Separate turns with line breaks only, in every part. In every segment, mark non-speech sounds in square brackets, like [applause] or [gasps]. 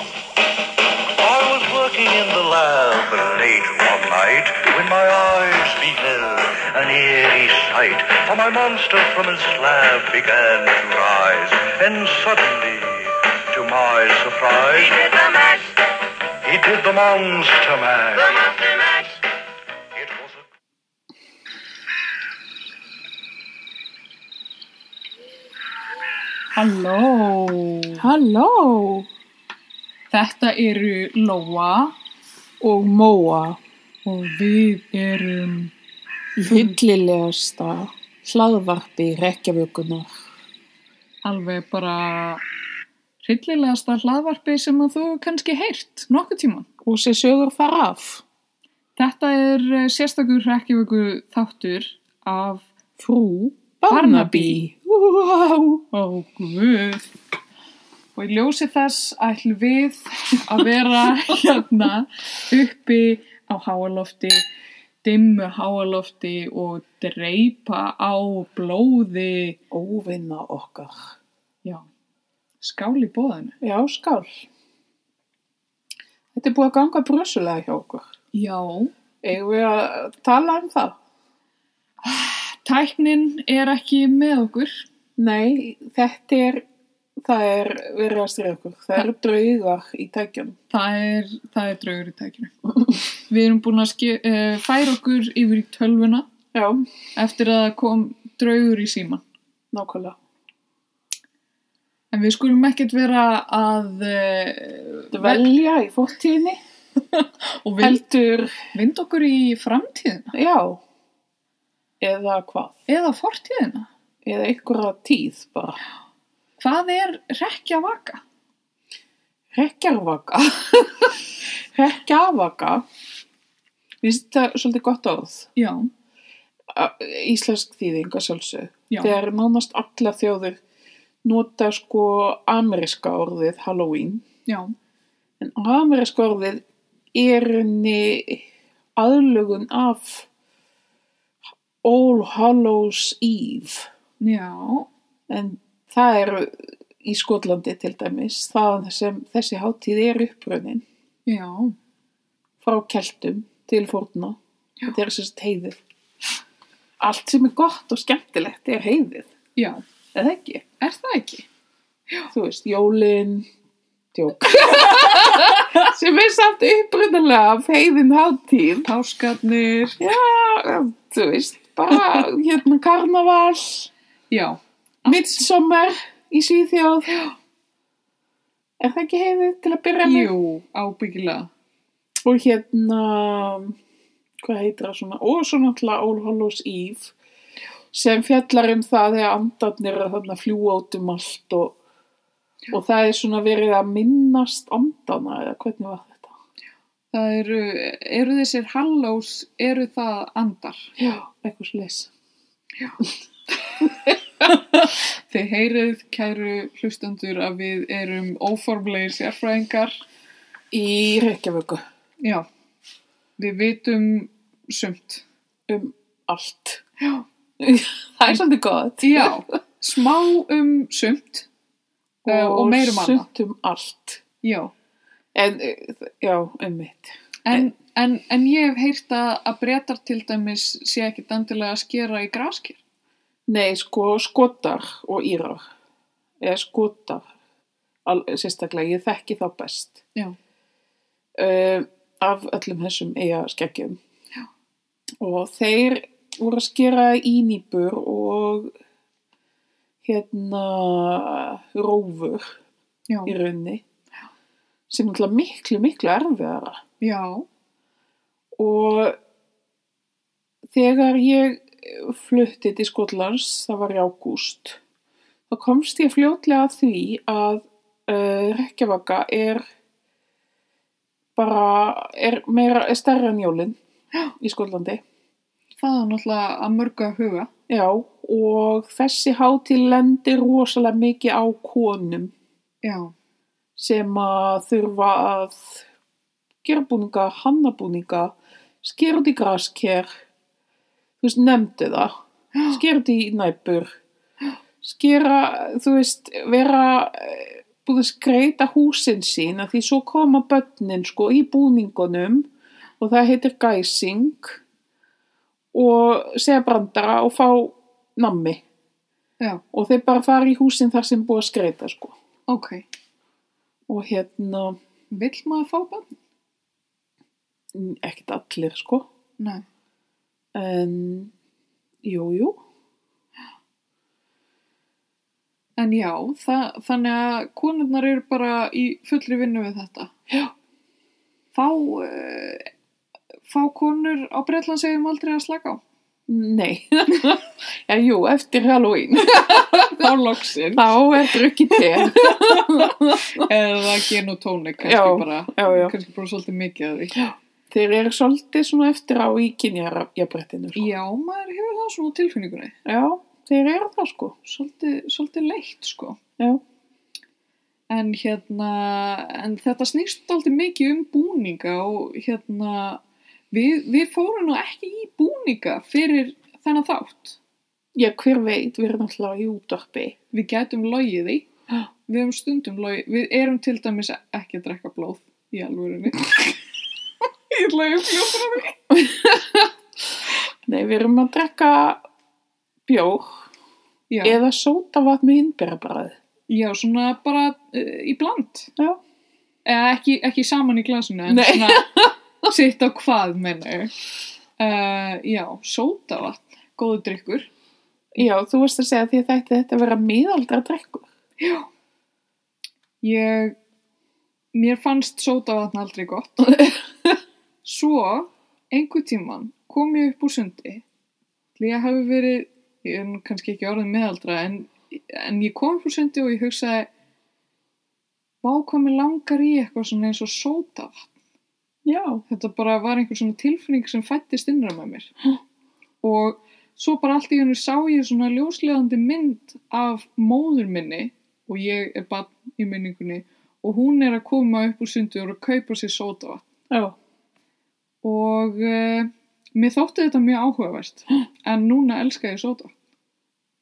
I was working in the lab late one night when my eyes beheld an eerie sight. For my monster from his slab began to rise, and suddenly, to my surprise, he did the mash. He did the monster mash. The monster mash. It was a
Halló.
Halló
Þetta eru Lóa
og Móa,
og við erum
fyllilegasta hlaðvarpi rekkjavökunar.
alveg bara hryllilegasta hlaðvarpi sem að þú kannski heyrt nokkuð tíma.
Og sér sögur þar af.
Þetta er eh, sérstakur hrekkjavöku þáttur af
Frú
Barnaby.
Barnaby. Wow.
Ó Guð. Og í ljósi þess ætlum við að vera hérna uppi á háalofti, dimmu háalofti og dreipa á blóði,
Óvinna okkar.
já, skáli bóðinu.
Já, skál. Þetta er búið að ganga brösulega hjá okkur.
Já,
Eigum við að tala um það?
Tæknin er ekki með okkur.
Nei, þetta er, það er verið að styrja okkur. Það eru draugar í tækjum.
Það er, það er draugur í tækinu. Við erum búin að ske, uh, færa okkur yfir í tölvuna
Já,
eftir að það kom draugur í síman.
nákvæmlega.
En við skulum ekkert vera að uh,
Dvelja í fórtíðinni.
og vind,
Heldur,
vind okkur í framtíðina
já, eða hvað?
eða fortíðina.
Eða einhverja tíð bara.
Hvað er rekja vaka?
[laughs] Rekkjarvaka. Rekkjarvaka. Mér finnst þetta svolítið gott orð.
Já,
Á- Íslensk þýðing að sjálfsög.
Já.
Þegar nánast alla þjóður nota sko ameríska orðið Halloween.
já,
En ameríska orðið er henni aðlugun af All Hallows Eve.
já,
En það eru í Skotlandi til dæmis, það sem þessi hátíð er uppröðin
já,
frá keltum til fórna. Þetta er sem sagt heiðið. Allt sem er gott og skemmtilegt er heiðið,
já.
eða ekki?
Er það ekki?
Þú veist, jólin, djók. sem er samt uppröðinlega af heiðin hátíð.
Páskarnir.
Já, þú veist, bara hérna karnaval,
Já,
midsommar í Svíþjóð. Er það ekki heiðið til að byrja með?
jú, ábyggilega.
Og hérna, hvað heitir það svona? Og svo náttúrulega All Hallows Eve sem fjallar um það þegar andarnir eru þarna að fljúa út um allt og, og það er svona verið að minnast andana eða hvernig var þetta?
Það eru, eru þessir hallós, eru það andar.
[laughs] Já, eitthvað svo leys.
Þið heyrið, kæru hlustendur, að við erum óformlegir sérfræðingar.
Í Reykjavíku
Já, við vitum sumt.
um allt. [laughs] Já. það er svolítið gott.
Já,
[laughs]
smá um sumt og, og meirum annað.
sumt um allt.
Já,
En, eh, já, um mitt.
en, en, en ég hef heyrt að, að breytar til dæmis sé ekkit endilega að skera í graskir.
Nei, sko, skotar og írar. Eða skotar, al, sérstaklega, ég þekki þá best.
Já,
Uh, af öllum þessum eiga skeggjum. Já. Og þeir voru að skera í nýbur og hérna rófur
já,
í raunni. Sem er náttúrulega miklu, miklu erfiðara.
já,
og þegar ég flutti til Skotlands, það var í ágúst, þá komst ég fljótlega að því að uh, Rekkjavaka er bara, er, meira, er stærra en jólin í Skotlandi.
það er náttúrulega að mörgu að huga.
Já, og þessi hátíð lendir rosalega mikið á konum
Já,
sem að þurfa að gera búninga, hanna búninga, skera út í grasker, þú veist, nefndi það, skera út í næpur, skera, þú veist, vera eh, búið að skreita húsin sín að því svo koma börnin sko í búningunum og það heitir gæsing og segja brandara og fá nammi
Já,
og þeir bara fara í húsin þar sem búið að skreita sko
ok.
og hérna,
Vill maður fá bann?
mm, ekkert allir sko
Nei.
en, jú, jú
En já, það, þannig að konurnar eru bara í fullri vinnu við þetta.
Já.
Fá, uh, fá konur á Bretlandsegjum aldrei að slaka á.
Nei, [laughs] já, jú, eftir Halloween,
Þá loksin.
þá er drukki te.
Eða gen og tónik, kannski
Já,
bara.
já, já.
Kannski bara svolítið mikið af því.
Þeir eru svolítið svona eftir á í kynjarabjabrettinu, sko.
Já, maður hefur það svona á tilfinningunni.
Já, þeir eru það, sko.
Svolítið, svolítið leitt, sko.
Já,
En hérna, en þetta snýst aldrei mikið um búninga og hérna, við, við fórum nú ekki í búninga fyrir þennan þátt.
já hver veit, við erum alltaf í útarpi.
Við gætum logið því,
Já.
við erum stundum logið, við erum til dæmis ekki að drekka blóð í
[laughs]
alvörunni. Ég ætla að uppljóta það.
Nei, við erum að drekka bjór
Já,
eða sótavat með innbyrabræð.
já, svona bara uh, í bland.
Já.
Eða ekki, ekki saman í glasinu, en
Nei.
svona sitt á hvað, menna ég. Uh, já, sótavatn, góðu drykkur.
Já, þú veist að segja því að þetta, þetta vera miðaldra drekkur.
Ég, mér fannst sótavatn aldrei gott. Svo, einhver tíman, kom ég upp úr sundi. Því ég hafi verið, ég er nú kannski ekki orðin meðaldra, en, en ég kom upp úr sundi og ég hugsaði, vá hvað mér langar í eitthvað svona eins og sótavatn.
Já,
Þetta bara var einhver svona tilfinning sem fættist innra með mér. Og svo bara allt í hennu sá ég svona ljóslegandi mynd af móður minni og ég er bann í minningunni og hún er að koma upp úr sundu og er að kaupa sér sótava.
já,
Og uh, mér þótti þetta mjög áhugavert en núna elska ég sótava.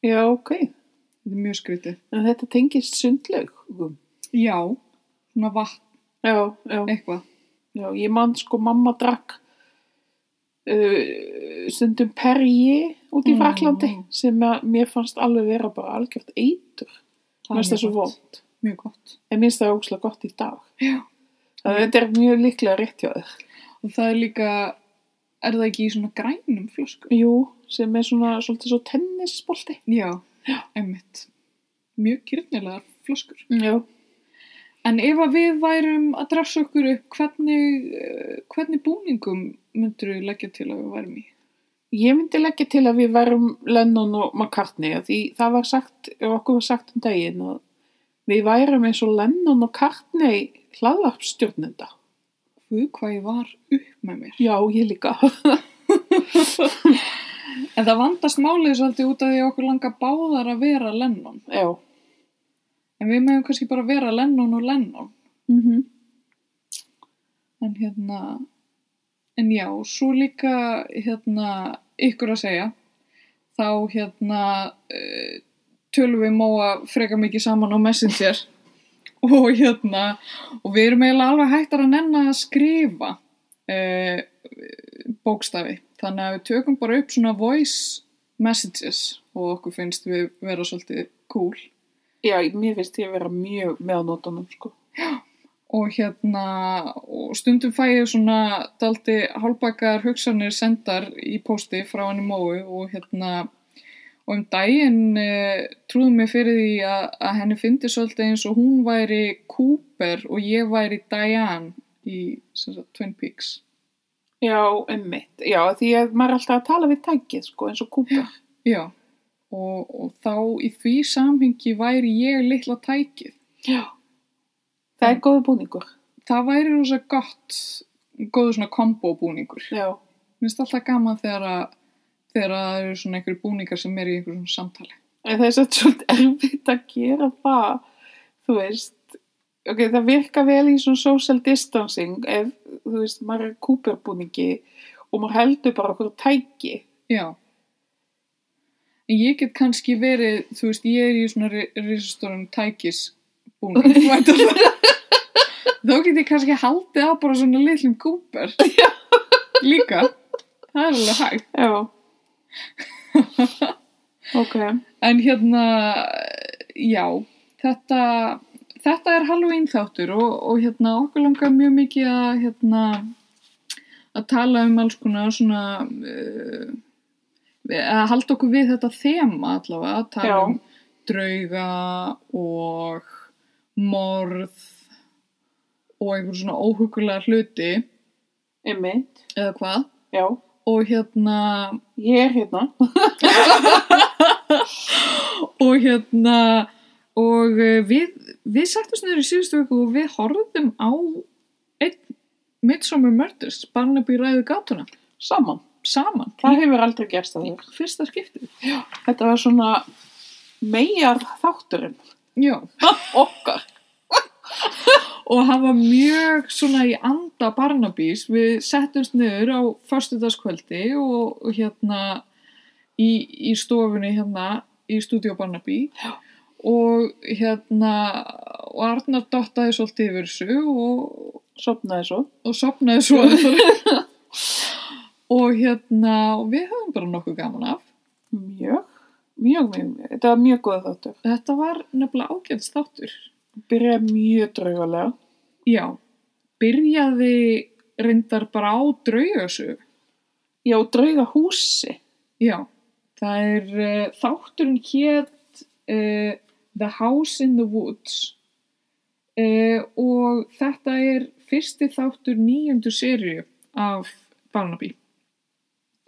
já, ok.
Þetta er mjög skrítið.
En þetta tengist sundlaugum.
Já, svona vatn,
Já, já.
eitthvað.
Já, ég man sko mamma drakk uh, stundum perji út í
Mm.
Fraklandi sem að mér fannst alveg vera bara algjört eitur.
er
Mér finnst það
mjög
svo
gott.
vond.
Mjög gott.
En mér finnst það ógslag gott í dag.
Já. Mm.
Það þetta er mjög líklega rétt hjá þér.
Og það er líka, er það ekki í svona grænum flösku?
Jú, sem er svona svolítið svo tennisbolti.
Já, einmitt. Mjög kyrnilegar flöskur.
Já.
En ef að við værum að drafsa okkur upp, hvernig, eh, hvernig búningum myndur við leggja til að við værum í?
Ég myndi leggja til að við værum Lennon og McCartney af því það var sagt, ef okkur var sagt um daginn að við værum eins og Lennon og McCartney hlaðvarpstjórnenda.
Guð hvað ég var upp með mér.
Já, ég líka.
En það vandast málið svolítið út af því að okkur langar báðar að vera Lennon.
Já.
En við meðum kannski bara vera Lennon og Lennon.
Mm
En hérna, en já, svo líka hérna ykkur að segja, þá hérna eh, tölum við móa freka mikið saman á Messenger [laughs] og hérna, og við erum eiginlega alveg hættar að nenna að skrifa eh, bókstafi. Þannig að við tökum bara upp svona voice messages og okkur finnst við vera svolítið cool.
Já, mér finnst ég vera mjög með á nótunum, sko.
og hérna og stundum fæ ég svona daldi hálfbakar hugsanir sendar í pósti frá hann í móu og hérna og um daginn e, trúðum mér fyrir því að, að henni fyndi svolítið eins og hún væri Cooper og ég væri Diane í sem sagt, Twin Peaks
Já, emmitt. Já, því að maður er alltaf að tala við tækið, sko, eins og kúpa.
já og, og þá í því samhengi væri ég litla tækið
Já. Mm. Það er góðu búningur.
það væri rosa gott góður svona kombo búningur
Já.
Mér finnst alltaf gaman þegar að þegar að það eru svona einhverju búningar sem er í einhverjum samtali.
En það er svo svolítið erfitt að gera það, þú veist. Ok, það virka vel í svona social distancing ef, þú veist, maður er kúperbúningi og maður heldur bara okkur tæki.
Já. En ég get kannski verið, þú veist, ég er í svona risastórum tækis búin. Þá get ég kannski haldið á bara svona litlum kúper. Já. Líka. Það er alveg hægt.
Já. [laughs] ok.
En hérna, já, þetta, þetta er Halloween þáttur og, og hérna okkur langar mjög mikið að, hérna, að tala um alls konar svona, uh, að halda okkur við þetta þema allavega, að tala
Já.
um drauga og morð og einhver svona óhugulega hluti
Einmitt.
eða hvað
Já.
og hérna
Ég er hérna.
og hérna og eh, við, við sættum niður í síðustu viku og við horfðum á einn Midsommar Murders, Barnaby ræðu gátuna
Saman.
saman,
Það hefur aldrei gerst að
í
þér.
fyrsta skiptið
Þetta var svona megar þátturinn
já,
okkar.
og hann var mjög svona í anda Barnabys, við settumst niður á föstudagskvöldi og, og hérna í, í stofunni hérna í stúdíu Barnaby og hérna og Arnar dottaði svolítið yfir þessu og,
Sopnaði svo.
og sopnaði svo [laughs] og hérna og við höfum bara nokkuð gaman af
Mjög. Mjög, mjög. Þetta var mjög góða þáttur.
þetta var nefnilega ágæðs þáttur
Byrjaði mjög draugalega.
já, byrjaði reyndar bara á draugasögu
Já, drauga húsi.
já, það er uh, þátturinn hétt uh, The House in the Woods uh, og þetta er fyrsti þáttur nýjöndu serju af Barnaby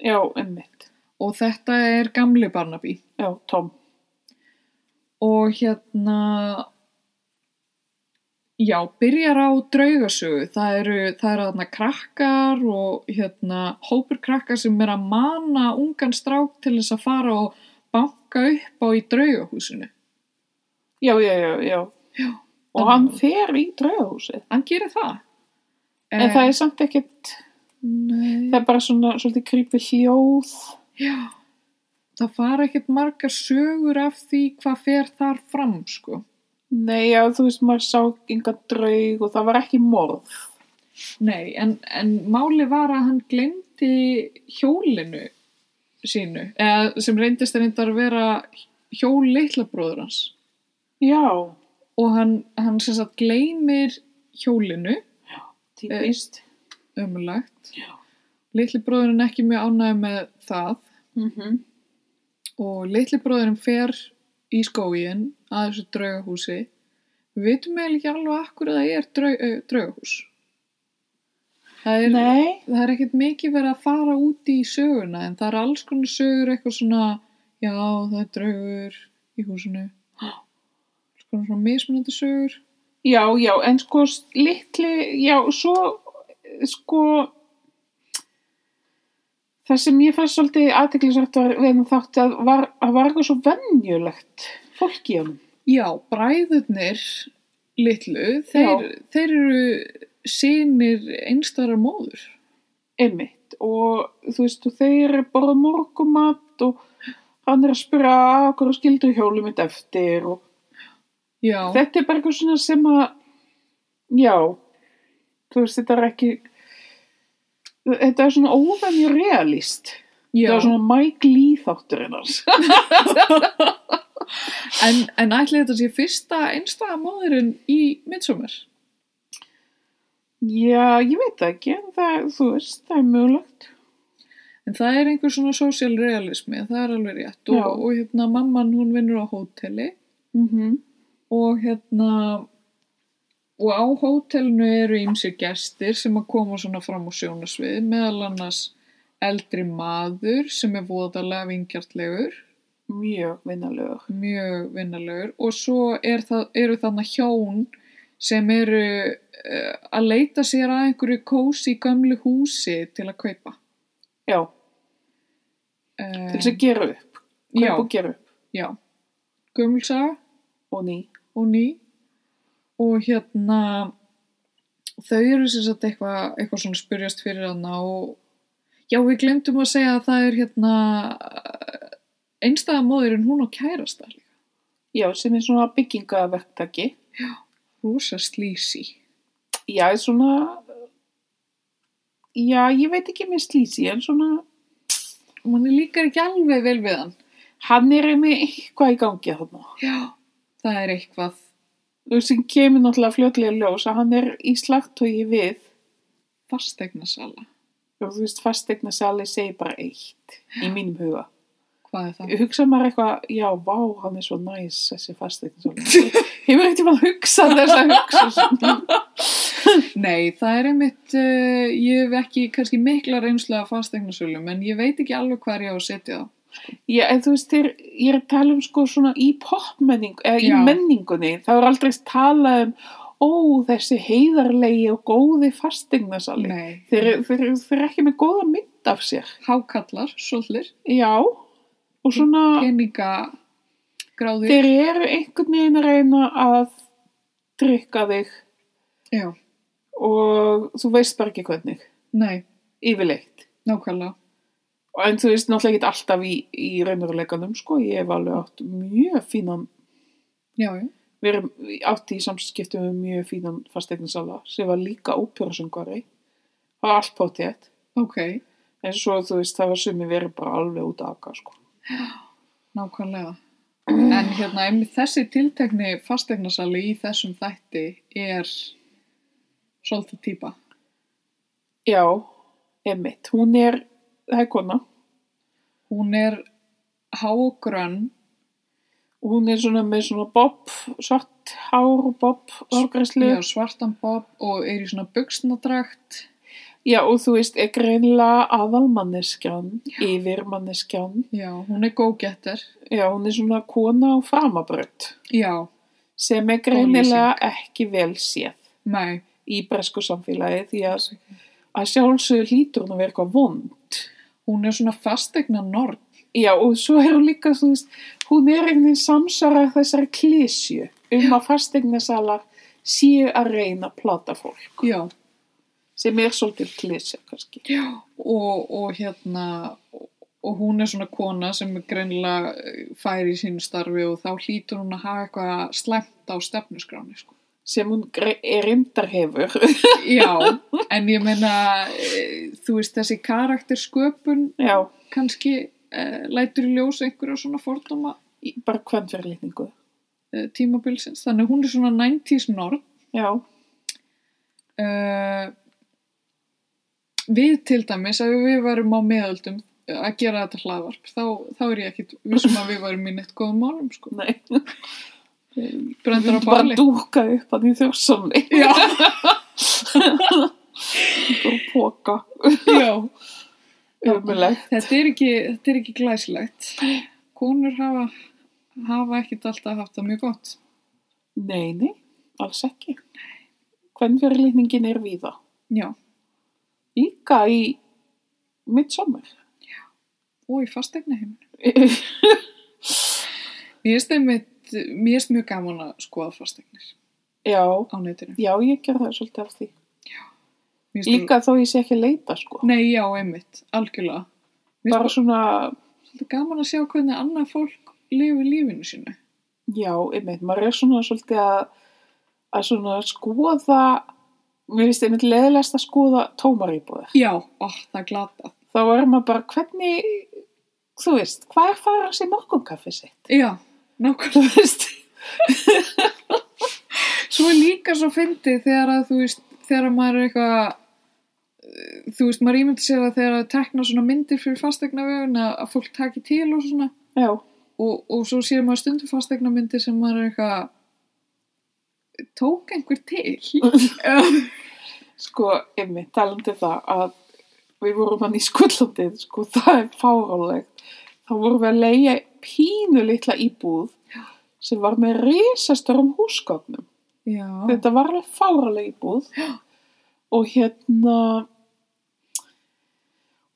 Já, einmitt.
og þetta er gamli Barnaby
Já, Tom.
og hérna já, byrjar á draugasögu það eru, það eru þarna krakkar og hérna hópur krakkar sem er að mana ungan strák til þess að fara og banka upp á í draugahúsinu
Já, já, já, já. Og hann fer í draugahúsið.
hann gerir það Eh,
En það er samt ekkert, það
nei,
er bara svona svolítið creepy hljóð.
já það fara ekkert margar sögur af því hvað fer þar fram sko
Nei, já, þú veist, maður sá enga draug og það var ekki morð.
Nei, en, en máli var að hann glemdi hjólinu sínu, eða sem reyndist reyndar að vera hjól litla bróður hans
Já,
og hann, hann sem sagt gleymir hjólinu,
Eh. típist.
ömulegt litli bróðurinn ekki mjög ánægði með það
Mm -hmm.
og litli bróðurinn fer í skógin að þessu draugahúsi við vitum eiginlega ekki alveg akkur að það er draug, eh, draugahús það er
Nei,
það er ekkert mikið verið að fara út í söguna en það er alls konar sögur eitthvað svona já það er draugur í húsinu [gasps] alls konar svona mismunandi sögur
já, já, en sko s- litli, já, svo, eh, sko, það sem ég fannst svolítið aðteklisvægt var við hann þátti að var, að var eitthvað svo venjulegt fólk í hann.
já bræðurnir litlu þeir, þeir eru sinir einstæðar móður
einmitt og þú veist og þeir borða morgumat og hann er að spyrja "Ah, af hverju skildur hjólið mitt eftir og
já,
þetta er bara eitthvað svona sem að já þú veist þetta er ekki þetta er svona óvenju realist
já.
þetta er svona Mike Lee þátturinn hans
en, en ætli þetta sé fyrsta einstæðar móðurinn í midsommar
[laughs] já ég veit það ekki en það þú veist það er mögulegt
En það er einhver svona social realismi, það er alveg rétt. Og,
Já.
og hérna mamman hún vinnur á hóteli
mm
Mhm.
-hmm.
og hérna og á hótelinu eru ýmsir gestir sem að koma svona fram á sjónasvið meðal annars eldri maður sem er voðalega vingjartlegur
mjög vinnalegur
mjög vinnalegur og svo er það, eru þarna hjón sem eru uh, að leita sér að einhverju kósi gamlu húsi til að kaupa
já
um,
til þess að gera upp kaup
já,
og gera upp
já gömulsaga
og ný
og ný og hérna þau eru sem sagt eitthvað eitthvað svona spyrjast fyrir hana og já við glemdum að segja að það er hérna einstæða móðurinn hún á kærasta líka.
Já, sem er svona byggingaverktaki.
rosa slísi
Já, svona... Já, ég veit ekki með slísi, en svona...
mann líkar ekki alveg vel við hann
Hann er með eitthvað í gangi þarna.
já, það er eitthvað
Þú sem kemur náttúrulega fljótlega í ljós að hann er í slagtögi við
fastegnasala
og þú veist, fastegna sali segir bara eitt í mínum huga.
hvað er það?
Hugsa maður eitthvað, já, vá, hann er svo næs þessi fastegna [laughs] sali. Hefur ekkert maður hugsað þess að hugsa [laughs]
nei, það er einmitt uh, ég hef ekki kannski mikla reynslu af fastegnasölum en ég veit ekki alveg hvað ég á að setja það
Já, en þú veist, þeir, ég er að tala um sko svona í popmenning, eða í
Já.
menningunni, þá er aldrei talað um, ó, þessi heiðarlegi og góði fastegnasali.
nei,
Þeir, þeir, þeir eru ekki með góða mynd af sér.
hákallar, svollir
Já, og svona...
peningagráður
Ah. Þeir eru einhvern veginn að reyna að drykka þig
já,
og þú veist bara ekki hvernig,
nei,
yfirleitt.
nákvæmlega
Og En þú veist náttúrulega ekki alltaf í, í raunveruleikanum, sko. Ég hef alveg átt mjög fínan,
já, já,
við erum átt í samskiptum með mjög fínan fasteignasala sem var líka óperusungari. Það var allt pátétt.
ok
En svo þú veist það var sumi verið bara alveg út að aka, sko.
nákvæmlega en hérna, einmitt þessi tiltekni fastegnasali í þessum þætti er svolítið típa
Já, emitt. Hún er, það er kona.
Hún er há og grönn,
Hún er svona með svona bob, svart hár og bob, hárgræslu.
já, svartan bob og er í svona buksnadragt.
Já, og þú veist, er greinlega aðalmanneskjan, yfirmanneskjan.
Já, hún er gógetter.
Já, hún er svona kona á framabrönd
Já,
sem er greinilega ekki vel séð
nei,
í bresku samfélagi því að, að sjálfsögur lítur hún að vera eitthvað vond.
hún er svona fastegna norn.
Já, og svo er hún líka, þú veist, hún er einhvern veginn samsvarað þessari klísju um að fastegnasalar séu að reyna að plata fólk
Já,
sem er svolítið klísja kannski.
og, og hérna, og hún er svona kona sem er greinilega eh, fær í sínu starfi og þá hlýtur hún að hafa eitthvað slæmt á stefnusgráni, sko.
sem hún gre- er reyndar hefur.
Já, en ég meina, eh, þú veist, þessi karaktersköpun
Já,
kannski uh, lætur í ljós einhverja svona fordóma
í- bara hvern fyrirlitningu.
eh, tímabilsins. Þannig að hún er svona 90s norn.
Já,
Uh, við til dæmis, ef við varum á meðöldum eh, að gera þetta hlaðvarp, þá, þá er ég ekkit vissum að við varum í neitt góðum málum, sko.
nei.
Bröndar á
bara
barli.
dúka upp að því þjóðsamni
Já,
[laughs] og póka
já.
umulegt.
Þetta er ekki, þetta er ekki glæsilegt. Konur hafa, hafa ekkit alltaf haft það mjög gott.
Nei, nei, alls ekki. Hvern fyrirlitningin er víða.
Já,
Líka í midsommar.
og í fastegna heim. Mér finnst einmitt, mér finnst mjög gaman að skoða fastegnir
Já,
á netinu.
já, ég ger það svolítið af því.
Mér finnst
Líka þó ég sé ekki að leita, sko.
það- Nei, já, einmitt, algjörlega. Mér
Bara
finnst
svona,
það gaman að sjá hvernig annað fólk lifi lífinu sínu.
já, einmitt, maður er svona svolítið að, að svona skoða, mér finnst einmitt leðilegast að skoða tómar íbúðir.
Já, ó, það er glata.
þá er maður bara hvernig, þú veist, hvað er fara sér morgunkaffi sitt? [laughs]
Já, nákvæmlega.
Þú veist,
Svo er líka svo fyndið þegar að, þú veist, þegar að maður er eitthvað, eh, þú veist, maður ímyndi sér að þegar að tekna svona myndir fyrir fastegnavögun að, að fólk taki til og svona
já,
og, og svo sér maður stundum fastegnamyndir sem maður er eitthvað tók einhver [laughs] til.
sko, yfir, talandi það að við vorum hann í Skotlandið, sko, það er fárálegt. Þá vorum við að leia pínu litla íbúð sem var með risastörum húsgögnum.
Já.
Þetta var alveg fáraleg íbúð og hérna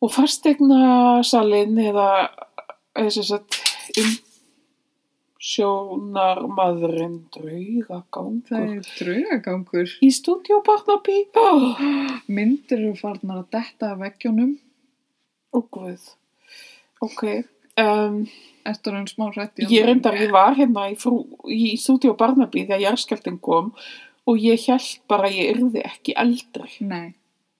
og fastegnasalinn eða eða sem sagt um sjónarmadurinn
Það
draugagangur
er draugagangur.
í stúdíu Barnaby oh,
Myndir eru farnar að detta af veggjónum.
og guð ok um,
Ertu hann smá hrætt
ég reyndar, ég var hérna í, frú, í stúdíu Barnaby þegar jarðskjaldin kom og ég held bara að ég yrði ekki eldri.
Nei,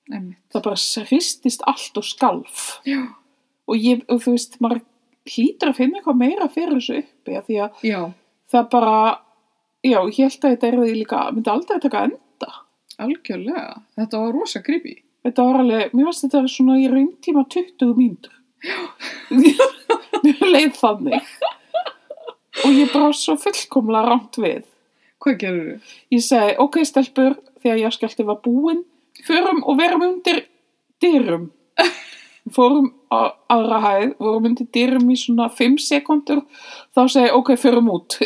emmi.
Það bara hristist allt og skalf.
Já.
Og ég, og þú veist, maður hlýtur að finna eitthvað meira fyrir þessu uppi af því að
Já,
það bara, já, ég held að þetta yrði líka, myndi aldrei að taka enda.
algjörlega. Þetta var rosa creepy.
Þetta var alveg, mér finnst þetta svona í rauntíma 20 mínútur. mér [laughs] leið þannig. Og ég bara svo fullkomlega rámt við.
Hvað gerur þú?
Ég segi, ok stelpur, þegar jarðskjálfti var búinn, förum og verum undir dyrum. Fórum á aðra hæð, vorum undir dyrum í svona 5 sekundur, þá segi, ég, ok, förum út.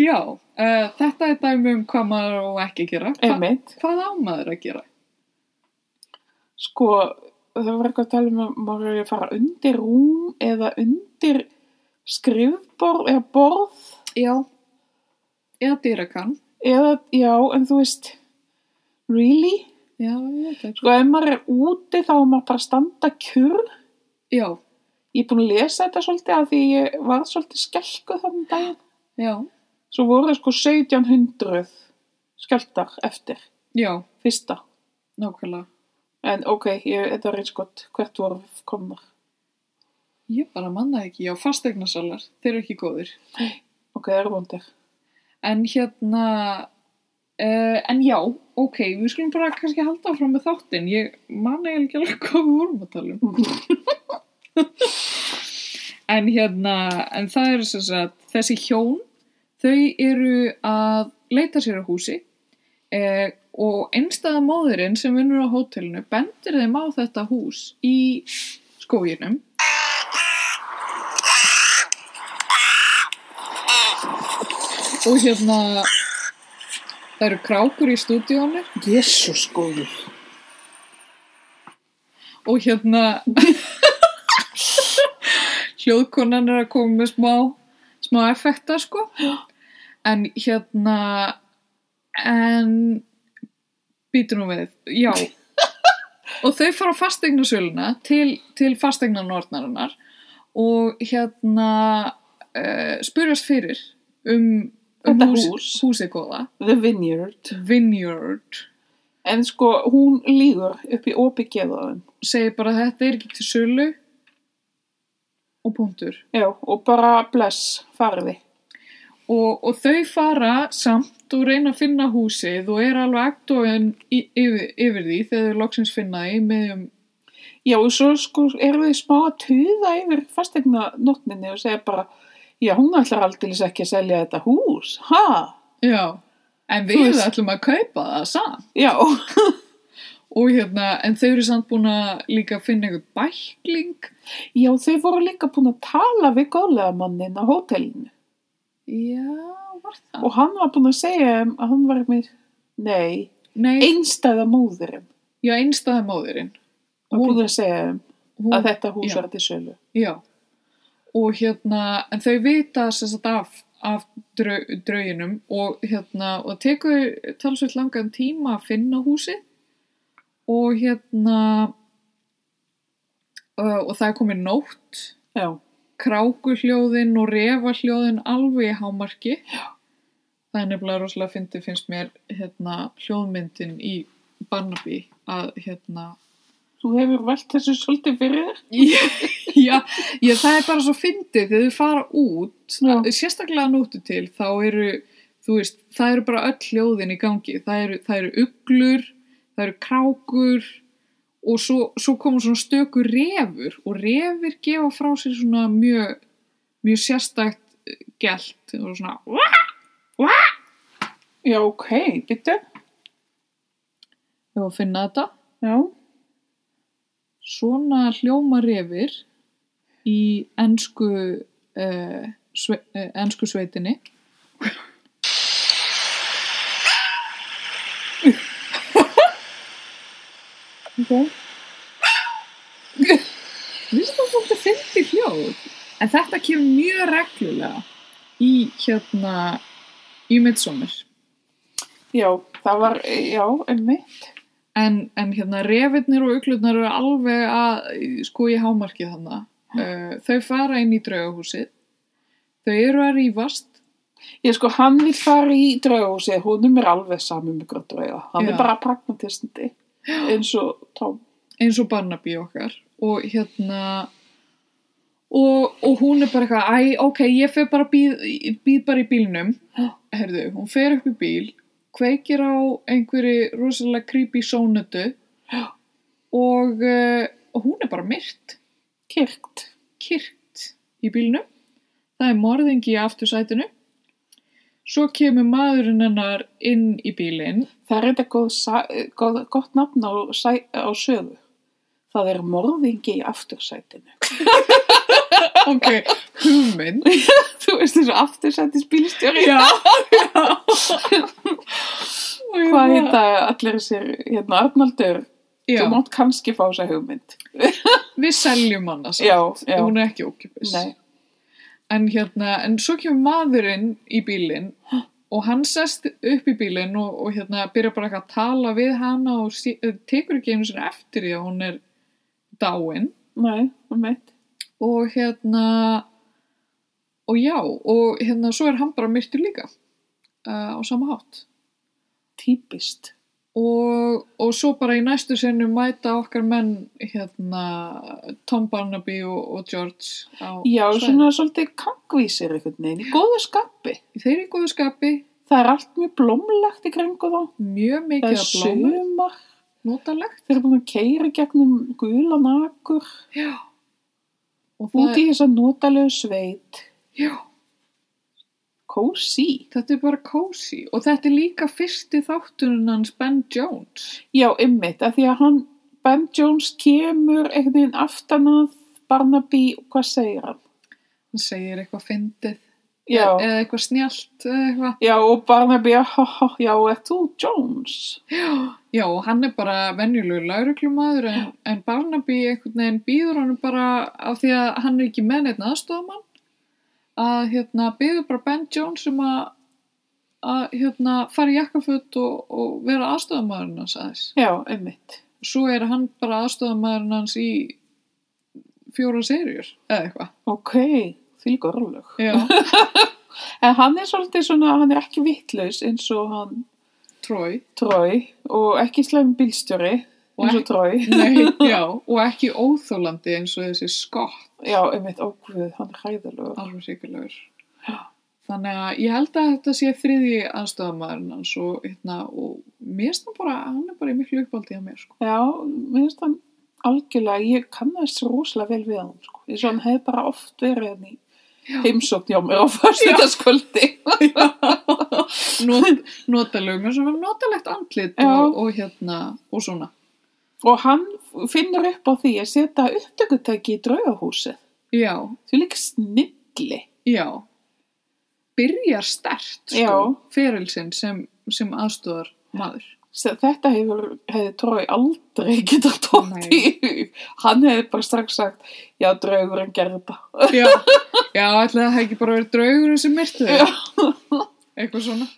Já, uh, þetta er dæmi um hvað maður á ekki að gera. Hva,
Einmitt,
hvað á maður að gera?
sko, það var eitthvað að tala um að maður er að fara undir rúm eða undir skrifborð eða borð
Já. Eða dýrakann.
eða, já, en þú veist, really?
Já, ég veit það.
Sko, ef maður er úti þá er maður bara að standa kjur
Já,
Ég er búin að lesa þetta svolítið að því ég var svolítið skelkuð þannig daginn.
já,
Svo voru sko 1700 skjaldar eftir,
já,
fyrsta.
nákvæmlega.
En ok, ég, þetta var eins gott, hvert voru við komnar.
Ég bara manna ekki, já, fastegnasalar, þeir eru ekki góðir.
Ok, það eru vondir.
En hérna, uh, en já, ok, við skulum bara kannski halda áfram með þáttinn. Ég man eiginlega ekki alveg hvað við vorum að tala um. [laughs] en hérna, en það eru sem sagt, þessi hjón, þau eru að leita sér að húsi uh, og einstæða móðurinn sem vinnur á hótelinu bendir þeim á þetta hús í skóginum. Og hérna, það eru krákur í stúdíónu
Jésús góður.
og hérna [laughs] hljóðkonan er að koma með smá smá effekta sko en hérna en býtur nú við,
[laughs]
já og þau fara á fasteignarsöluna til, til fasteignanornarinnar og hérna uh, spurjast fyrir um, um
Þetta hús.
húsið góða
The Vineyard.
Vineyard
En sko, hún lígur upp í óbyggjeðaðin.
segir bara þetta er ekki til sölu og punktur
Já, og bara bless, farði.
og, og þau fara samt og reyna að finna húsið og er alveg aktóin yfir, yfir því þegar þau loksins finna því með um
Já, og svo sko eru þið smá að tuða yfir fastegna notninni og segja bara, já, hún ætlar aldrei ekki að selja þetta hús, ha?
já, en
Þú
við
veist-
ætlum að kaupa það samt
Já, [laughs]
og hérna, en þau eru samt búin að líka finna einhver bækling
já, þau voru líka búin að tala við góðlega mannin á hótelinu
já, var það
og hann var búin að segja þeim að hann var með, nei,
Nei,
einstæða móðurinn
já, einstæða móðurinn
var
Hún-
búin að segja þeim
Hún-
að þetta hús
já.
var til sölu.
Já, og hérna, en þau vita sem sagt af, af drau, drauginum og hérna, og tekur talsveit langan tíma að finna húsið og hérna, uh, og það er komið nótt,
Já,
krákuhljóðin og refahljóðin alveg í hámarki. Já. Það er nefnilega rosalega fyndið finnst mér hérna hljóðmyndin í Barnaby að hérna
þú hefur velt þessu svolítið fyrir þér.
já, já, það er bara svo fyndið þegar þau fara út eh,
Já.
sérstaklega nóttu til þá eru þú veist, það eru bara öll hljóðin í gangi það eru, það eru uglur það eru krákur og svo, svo komum svona stöku refur og refur gefa frá sér svona mjög, mjög sérstakt eh, gelt og svona "Wah!"
Já, ok, bitte.
Ég var að finna þetta
Já,
svona hljóma refur í ennsku uh, sve, uh, ennsku sveitinni
ok.
Mér finnst það svolítið fyndi hljóð. En þetta kemur mjög reglulega í hérna í midsommar.
Já, það var, já, emmi.
en, en hérna refirnir og uglurnar eru alveg að sko í hámarki þannig uh, þau fara inn í draugahúsið þau eru að rífast
Ég sko, hann vil fara í draugahúsið, honum er alveg saman með grótt drauga. Hann
Já.
er bara pragmatistandi, eins og Tom.
eins og Barnaby okkar og hérna og, og hún er bara eitthvað æ, ok, ég fer bara býð, býð bara í bílnum herðu, hún fer upp í bíl kveikir á einhverju rosalega creepy sónutu og, uh, og hún er bara myrt
Kirkt.
kyrkt í bílnum það er morðingi í aftursætinu svo kemur maðurinn hennar inn í bílinn
Það er þetta góð, sa- góð, gott nafn á, sæ- á sögu. Það er morðingi í aftursætinu. [laughs]
ok, hugmynd
Þú veist þessu aftursætis bílstjóri.
já,
[laughs]
hérna-
Hvað heita allir þessir, hérna, Arnaldur?
já.
Þú mátt kannski fá þessa hugmynd.
við seljum hana samt.
Já, já.
hún er ekki ókipis
Nei.
en hérna, en svo kemur maðurinn í bílinn og hann sest upp í bílinn og, og hérna byrjar bara eitthvað að tala við hana og sí, eh, tekur ekki einu sinni eftir því að hún er dáin
Nei, um mitt.
og hérna og já, og hérna svo er hann bara myrtur líka uh, á sama hátt
Típist.
og, og svo bara í næstu senu mæta okkar menn hérna Tom Barnaby og, og George á
Já,
svæðinu.
svona svolítið kangvísir einhvern veginn. Í góðu skapi.
þeir eru í góðu skapi
Það er allt mjög blómlegt í kringu þá.
mjög
Það
mikið
er
að blóma
sumar.
notalegt
Þeir eru búin að keira gegnum gulan akur.
já. og það,
Úti í þessa notalegu sveit.
já,
Kósi.
þetta er bara kósi og þetta er líka fyrsti þátturinn hans Ben Jones
Já, ymmit, af því að hann, Ben Jones kemur einhvern veginn aftan að Barnaby og hvað segir hann?
hann segir eitthvað fyndið
Já,
eða eitthvað snjált eða eitthvað
já og Barnaby, ha, ha, ha, já, er þú Jones?
Já, og hann er bara venjulegu lauruglumadur en, en Barnaby einhvern veginn býður honum bara af því að hann er ekki með neitt aðstofamann að hérna býður bara Ben Jones um að að hérna fara í jakkaföt og, og vera aðstofamadurinn hans aðeins.
Já, ymmit.
Svo er hann bara aðstofamadurinn hans í fjóra serjur eða
[laughs]
eitthvað.
Ok, því gorlug.
Já,
En hann er svolítið svona, hann er ekki vittlaus eins og hann
trói.
trói og ekki slæmi bílstjóri
Og
eins og trói.
Nei, já, og ekki óþólandi eins og þessi skott.
Já, ymmit, ókvöð, hann er hræðalögur.
alveg sikurlegur þannig að ég held að þetta sé þriði aðstöðamaðurinn hans og, hérna, og mér finnst hann bara hann er bara í miklu uppáldi á mér sko.
Já, mér finnst hann algjörlega, ég kannast rosalega vel við hann, sko. Ég svo hann hefði bara oft verið hann í heimsókn hjá mér á fyrstutaskvöldi.
[laughs] Not, notalegu, mér finnst hann notalegt andlit
Já.
og, og hérna og svona
[laughs] Og hann finnur upp á því að setja upptökutæki í draugahúsið.
já,
Því líka snilli.
já byrjar stert sko,
Já.
ferilsinn sem, sem aðstöðar maður
Se- Þetta hefur, hefði Trói aldrei getað tótt
Nei.
í hug. Hann hefði bara strax sagt, já, draugurinn gerði þetta.
já, já ætlaði það ekki bara verið draugurinn sem myrtu þig? eitthvað svona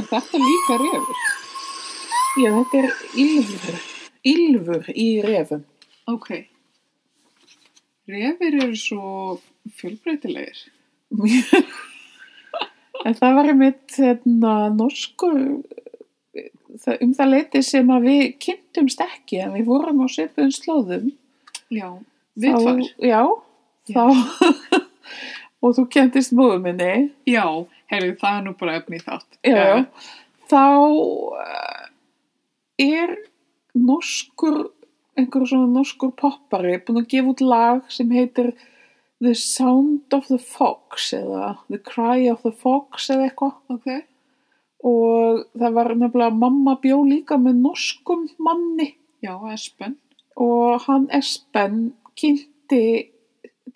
Er þetta líka refur?
Já, þetta er ylfur. Ylfur í refum.
Ok. Refir eru svo fjölbreytilegir.
Mjög. en það var einmitt hérna, norskur það, um það leiti sem að við kynntumst ekki en við vorum á svipuðum slóðum
Já. Við tvær.
Þá- Já, þá [laughs] og þú kynntist móðu minni
Já, heyrðu, það er nú bara efni í þátt.
já, þá eh, er norskur einhver svona norskur poppari búin að gefa út lag sem heitir The Sound of the Fox eða The Cry of the Fox eða eitthvað
Ok.
og það var nefnilega mamma bjó líka með norskum manni
Já, Espen.
og hann Espen kynnti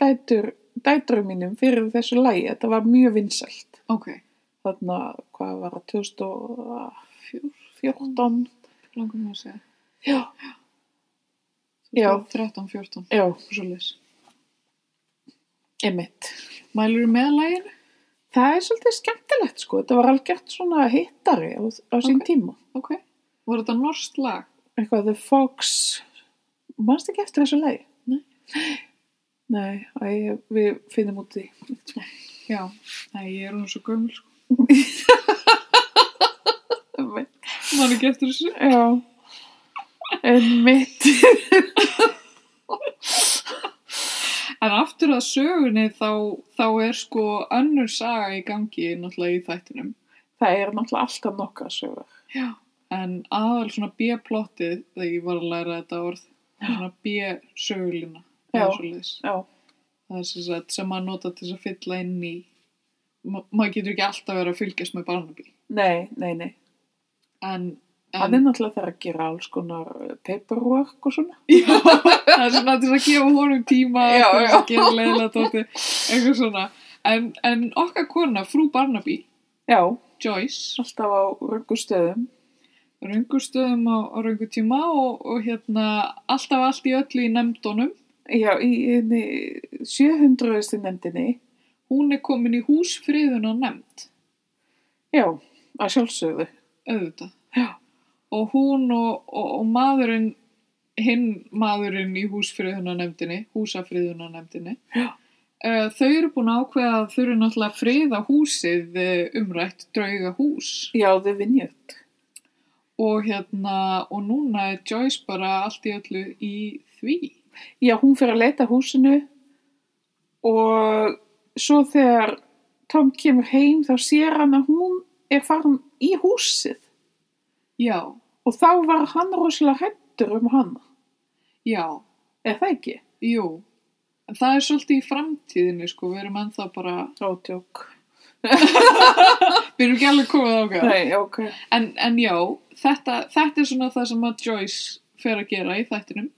dætur, dæturum mínum fyrir þessu lægi, þetta var mjög vinsælt
Ok.
þarna, hvað var það, 2014
Langum að segja.
já, Já.
13, 14.
já,
Svo leys.
Einmitt.
Mælur með læginu?
Það er svolítið skemmtilegt sko, þetta var algjört svona hittari á, á sín
Ok.
tíma.
Ok. Voru þetta norskt lag?
Eitthvað The Fox, mannst ekki eftir þessu lagi?
Nei.
Nei, æ, við finnum út í því.
Já. Nei, ég er nú svo gömul sko. [laughs] Man ekki eftir þessu.
Já, einmitt.
En aftur að sögunni þá, þá er sko önnur saga í gangi náttúrulega í þættinum.
Það er náttúrulega alltaf nokkra sögur.
Já. En aðal svona B-plottið, þegar ég var að læra þetta orð, er svona B-sögulina.
Já.
Það
Já,
er sem, sagt, sem maður nota til þess að fylla inn í. Ma maður getur ekki alltaf verið að fylgjast með Barnaby.
nei, nei, nei.
En,
Það
en
er náttúrulega það að gera alls konar eh, paperwork og svona.
Já, það er svona til þess að gefa honum tíma
Já,
til þess
já.
að gera leiðilega tóti, eitthvað svona. En, en okkar kona, frú Barnaby,
Já,
Joyce,
alltaf á röngu stöðum.
raungustöðum á, á raungu tíma og, og hérna alltaf allt í öllu í nefndunum.
Já, í henni 700. nefndinni.
Hún er komin í húsfriðuna nefnd,
Já, að sjálfsögðu.
auðvitað.
Já.
Og hún og, og, og maðurinn, hinn maðurinn í húsfriðuna nefndinni, húsafriðuna nefndinni,
Já.
Eh, Þau eru búin að ákveða að þau eru náttúrulega að friða húsið eh, umrætt drauga hús
Já, þau vinnjöld.
og hérna og núna er Joyce bara allt í öllu í því.
Já, hún fyrir að leita að húsinu og svo þegar Tom kemur heim þá sér hann að hún er farin í húsið
Já,
og þá var hann rosalega hættur um hann.
já,
Er það ekki?
jú. En það er svolítið í framtíðinni sko, við erum ennþá bara,
Rótjók.
við erum ekki alveg komið ákveða.
Nei, ok.
En, en já, þetta, þetta er svona það sem að Joyce fer að gera í þættinum.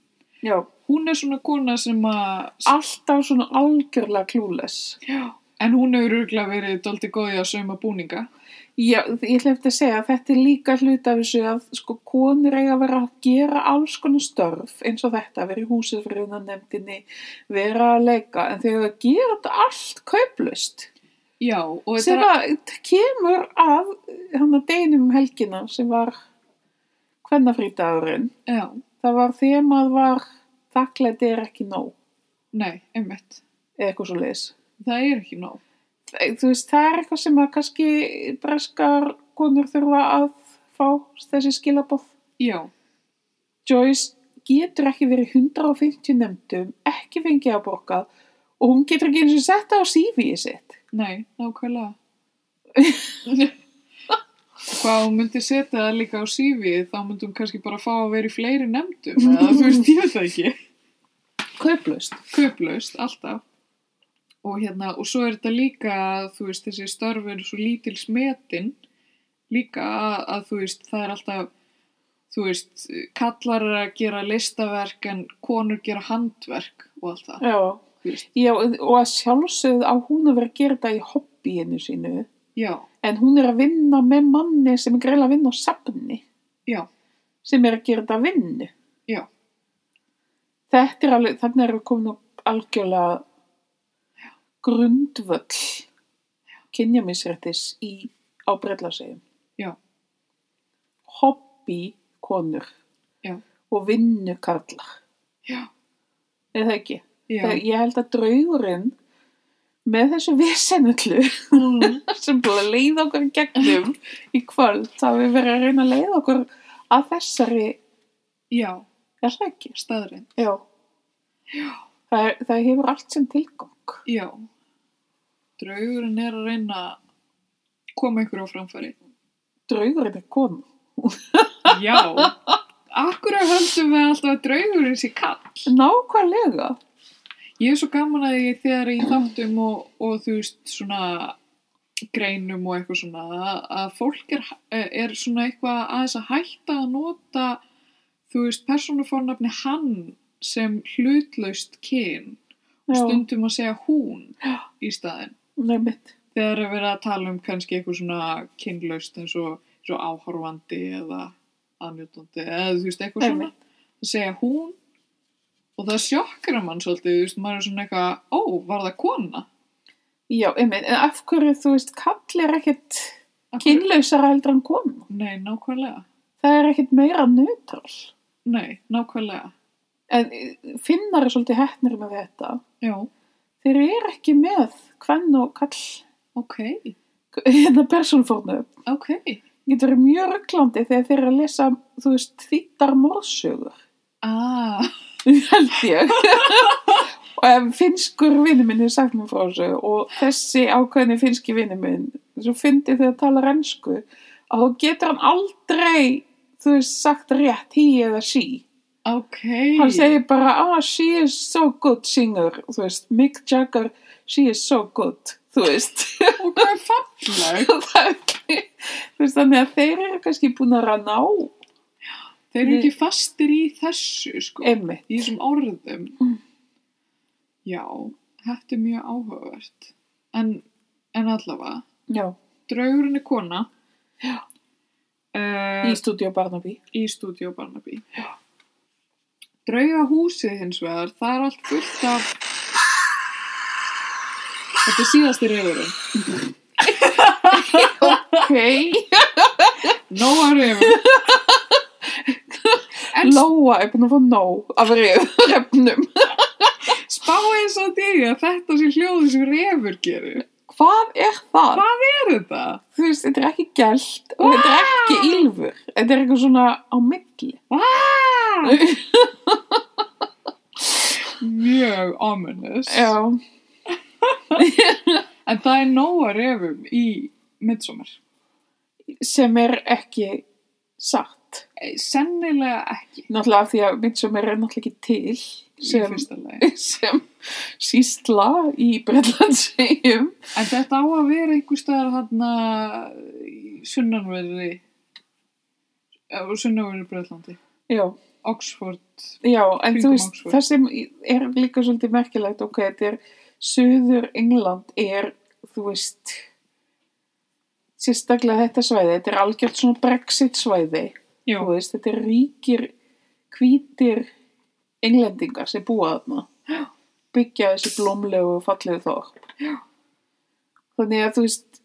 Já,
Hún er svona kona sem að,
alltaf svona algjörlega klúles.
en hún hefur örgulega verið doldi góði að sauma búninga.
Já, ég hlefti að segja að þetta er líka hlut af þessu að sko konur eiga að vera að gera alls konar störf eins og þetta, vera í húsið fyrir unan nefndinni, vera að leika, en þau eiga að gera þetta allt kauplust.
Já, og þetta
Sem
er
að þetta kemur af hann að deginum um helgina sem var hvennafrítagurinn.
Já,
Það var þemað var þakklæti er ekki nóg,
nei, einmitt.
eða eitthvað svo leis.
Það er ekki nóg.
Eh, Þú veist, það er eitthvað sem að kannski breskar konur þurfa að fá þessi skilabóð.
Já,
Joyce getur ekki verið í 150 nefndum, ekki fengið að borgað og hún getur ekki eins og setta á CV-ið sitt.
nei, nákvæmlega. Hvað hún myndi setja það líka á CV-ið, þá myndi hún kannski bara fá að vera í fleiri nefndum. eða Þú veist, ég veit það ekki.
Kauplust.
Kauplaust, alltaf. Og hérna, og svo er þetta líka, þú veist, þessi störf er svo lítil smetin. Líka að, að, þú veist, það er alltaf, þú veist, kallar eru að gera listaverk en konur gera handverk og allt það.
Já.
Þú veist,
Já, og að sjálfsögð á hún að vera að gera þetta í hobbyinu sínu,
já,
en hún er að vinna með manni sem er greiðlega að vinna á safni,
já,
sem er að gera þetta að vinnu.
já.
Þetta er alveg, þannig erum við komin á algjörlega grundvöll kynjamisrættis í á brellasegum.
Já.
Hobby konur
Já.
og vinnu karlar.
Já.
Er það ekki?
Já.
Það, ég held að draugurinn með þessu visenullu
Mm.
[laughs] sem búið að leiða okkur í gegnum í kvöld, það við verið að reyna að leiða okkur að þessari,
Já,
er það ekki?
staðrind.
Já. Það, er, það hefur allt sem tilgang.
Já. Draugurinn er að reyna að koma ykkur á framfæri.
Draugurinn er konu.
Já. Akkur að höldum við alltaf að draugurinn sé kall.
Nákvæmlega.
Ég er svo gaman að ég þegar í þáttum og, og þú veist svona greinum og eitthvað svona að, að fólk er, er svona eitthvað aðeins að hætta að nota þú veist persónufórnafni hann sem hlutlaust kyn
Já,
stundum að segja hún í staðin.
nei mitt.
þegar er verið að tala um kannski eitthvað svona kynlaust eins og, eins og áhorfandi eða aðnjótandi eða þú veist eitthvað
Nei,
svona að segja hún og það sjokkar mann svolítið, þú veist, maður er svona eitthvað, ó, var það kona?
Já, einmitt, en af hverju, þú veist, kall er ekkit
Af hverju-
kynlausara heldur en kona.
Nei, nákvæmlega.
Það er ekkit meira nötral.
Nei, nákvæmlega.
En eh, finnar er svolítið hettnir með þetta.
Já,
Þeir eru ekki með hvenn og kall,
ok,
[laughs] hérna persónfórnum.
ok.
Getur verið mjög rugglandi þegar þeir eru að lesa, þú veist, þýttar morsögur.
Ah,
held ég og ef finnskur vinnu minn er sagt mér frá þessu og þessi ákveðni finnski vinnu minn svo fyndi þegar talar ennsku að þá getur hann aldrei þú veist sagt rétt he eða she
ok.
hann segir bara ah she is so good singer þú veist Mick Jagger she is so good þú veist
Og
[laughs]
hvað er falleg?
Það er ekki- þú veist þannig að þeir eru kannski búin að ná
Þeir eru ekki fastir í þessu, sko.
emmi
Í þessum orðum.
Mm.
Já, þetta er mjög áhugavert. En, en allavega,
já
draugurinn er kona. Já.
í stúdíu Barnaby
í stúdíu Barnaby. Drauga húsið hins vegar, það er allt fullt af... Þetta er síðasti reyfurinn.
[laughs] ok
Nóa reyfur. En
Lóa er búin að fá nóg af refnum.
spáið svo því að þetta sé hljóðu sem reyfur gerir.
Hvað er það?
Hvað er þetta?
Þú veist, þetta er ekki gælt og þetta er ekki ylfur. Þetta er eitthvað svona á milli.
Vá! Mjög ominous.
Já,
En það er nóa reyfum í midsommar.
sem er ekki satt.
Eh, Sennilega ekki.
Náttúrulega af því að midsommar er náttúrulega ekki til
Í
sem, [laughs]
fyrsta lagi.
sem sístla í Bretlandssegjum.
En þetta á að vera einhver staðar þarna í eh, sunnanverði og sunnanverði Breitlandi
Já,
Oxford
já, en þú
Kringum
veist,
Oxford.
það sem er líka svolítið merkilegt, ok, þetta er Suður England er, þú veist, sérstaklega þetta svæði, þetta er algjört svona Brexit svæði.
Já,
þú veist, þetta er ríkir hvítir englendingar sem búa þarna byggja þessi blómlegu og fallegu þorp þannig að þú veist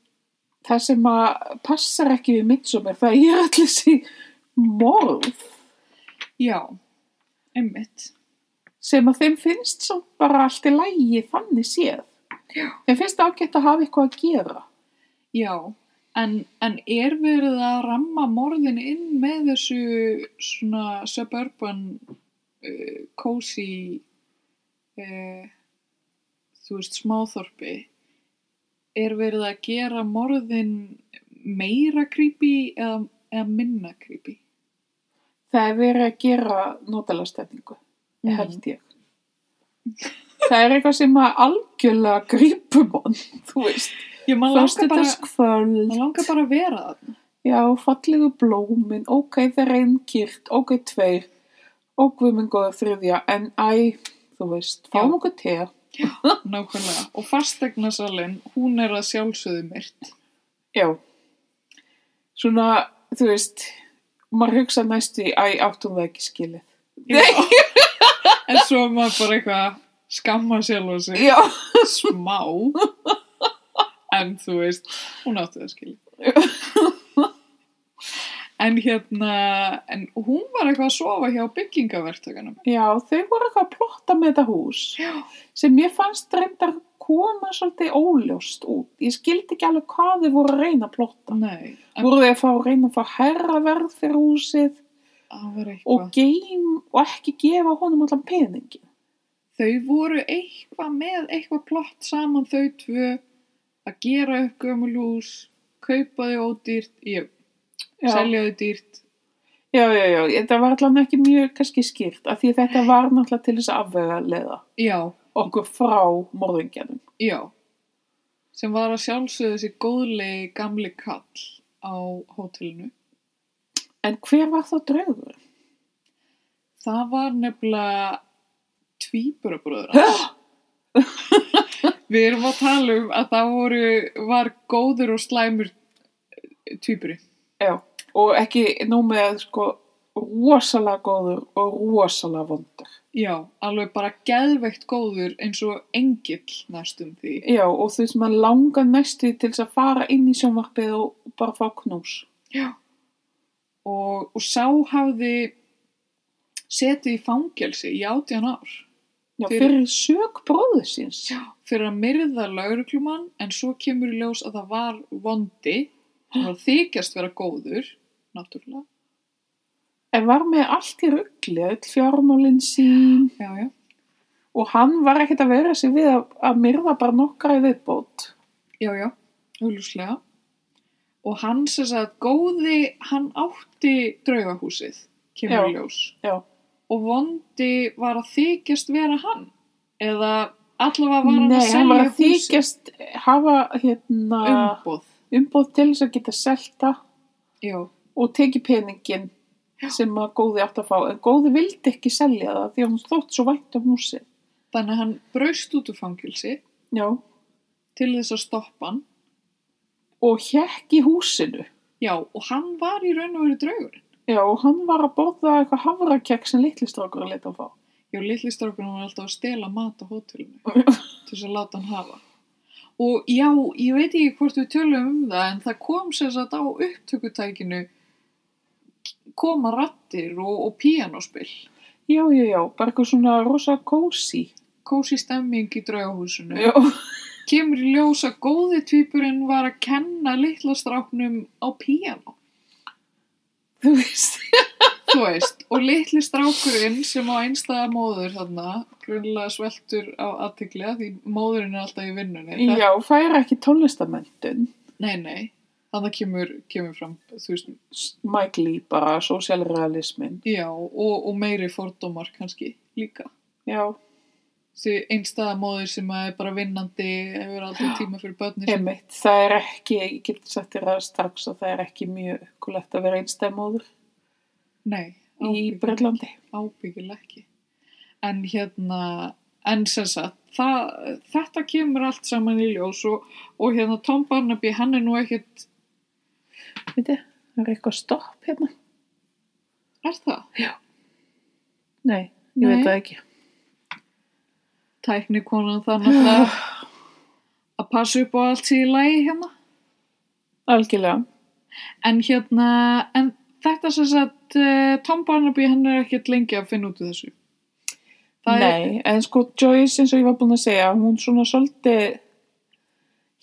það sem að passar ekki við midsommar það er allir þessi morð
já einmitt
sem að þeim finnst samt bara allt í lægi þannig séð
Já.
þeim finnst ágætt að hafa eitthvað að gera
Já, en, en er verið að ramma morðin inn með þessu svona suburban uh, cozy uh, þú veist smáþorpi er verið að gera morðin meira creepy eða, eða minna creepy?
það er verið að gera notalega stefningu
Mhm.
held ég það er eitthvað sem að algjörlega grípum hann þú veist,
Ég maður langar bara,
föstudagskvöld
sko- maður langar bara að vera þarna.
já, fallegu blómin ok, það er einn kýrt, ok, tveir og við minn góða þriðja en æ, þú veist, fáum
Já.
okkur te
Nákvæmlega. Og fastegnasalinn, hún er að sjálfsögðu myrt.
já svona, þú veist maður hugsa næstu í, æ, áttum það ekki skilið
Nei! en svo er maður bara eitthvað skamma sjálf og sig
já,
smá. En þú veist, hún átti það skilja. en hérna, en hún var eitthvað að sofa hjá byggingavertökanum.
já, þau voru eitthvað að plotta með þetta hús
Já.
sem ég fannst reyndar koma svolítið óljóst út. Ég skildi ekki alveg hvað þið voru að reyna að plotta.
Nei, en
Voru þið að fá að reyna að fá herra verð fyrir húsið
það var
og
eitthvað.
geim og ekki gefa honum allan peningi.
þau voru eitthvað með eitthvað plott saman þau tvö að gera upp gömul hús kaupa þau ódýrt ég,
Já.
selja þau dýrt
Já, já, já, þetta var allan ekki mjög kannski skýrt af því að þetta var náttúrulega til þess að afvega leiða
já,
okkur frá morðingjarnum.
já sem var að sjálfsögðu þessi góðlegi gamli kall á hótelinu
En hver var þá draugur?
það var nefnilega tvíburabróður við erum að tala um að það voru, var góður og slæmur eh, tvíburi
Já, og ekki nú með sko rosalega góður og rosalega vondur.
Já, alveg bara geðveikt góður eins og engill næstum því.
Já, og þú veist, maður langar næstu til þess að fara inn í sjónvarpið og bara fá knús.
og, og sá hafði setið í fangelsi í átján ár
Já,
Fyrir-
fyrir sög bróðu síns.
fyrir að myrða lauruglumann en svo kemur í ljós að það var vondi hann var að þykjast vera góður náttúrulega
En var með allt í ruggli, öll fjármálin sín
já, já.
og hann var ekkert að vera sér við að, að myrða bara nokkra í viðbót.
já, já, augljóslega og hann sem sagt góði hann átti draugahúsið kemur í
Já.
ljós
Já,
og vondi var að þykjast vera hann eða allavega var hann að
Nei,
selja
hann var að
húsið.
þykjast hafa hérna,
umboð
umboð til þess að geta selta
já,
og tekið peningin sem að góði átt að fá. En góði vildi ekki selja það því að hún þótt svo vænt um húsið.
þannig að hann braust út úr fangelsi
Já,
til þess að stoppa hann.
og hjekk í húsinu.
Já, og hann var í raun og veru draugurinn.
Já, og hann var að borða eitthvað hafrakekk sem litli strákur að leta að fá.
Já, litli strákurinn var alltaf að stela mat á
[laughs]
hótelinu til þess að láta hann hafa. Og já, ég veit ekki hvort við tölum um það, en það kom sem sagt á upptökutækinu koma rattir og, og píanospill.
Já, já, já, bara eitthvað svona rosa kósi.
Kósi stemming í draugahúsinu.
Já,
Kemur í ljós að góði tvípurinn var að kenna litla stráknum á píano.
þú veist.
Þú veist, og litli strákurinn sem á einstæða móður þarna, grunlega sveltur á aðtiklega því móðurinn er alltaf í vinnunni. Það-
Já, færa ekki tónlistamöndun.
Nei, nei, þannig kemur, kemur fram, þú veist,
Mike Lee bara, sosialrealismin.
já, og, og meiri fordómar kannski líka.
Já,
Því einstæða móður sem að er bara vinnandi, hefur aldrei tíma fyrir börnin sín.
einmitt. Það er ekki, ég geti sagt þér það strax að það er ekki mjög kulegt að vera einstæðmóður
Nei,
í
ábyggilega-
Breitlandi.
ábyggilega ekki. En hérna, en sem sagt, það, þetta kemur allt saman í ljós og, og hérna Tom Barnaby, hann er nú ekkert,
Veit þið, það er eitthvað stopp hérna.
er það?
Nei, ég
Nei.
veit það ekki.
tæknikonan þannig
[sighs]
að að passa upp á allt í lagi hérna.
Algjörlega.
En hérna, en þetta sem sagt, uh, Tom Barnaby hann er ekkert lengi að finna út úr þessu. er,
Nei, en sko Joyce eins og ég var búin að segja, hún svona svolítið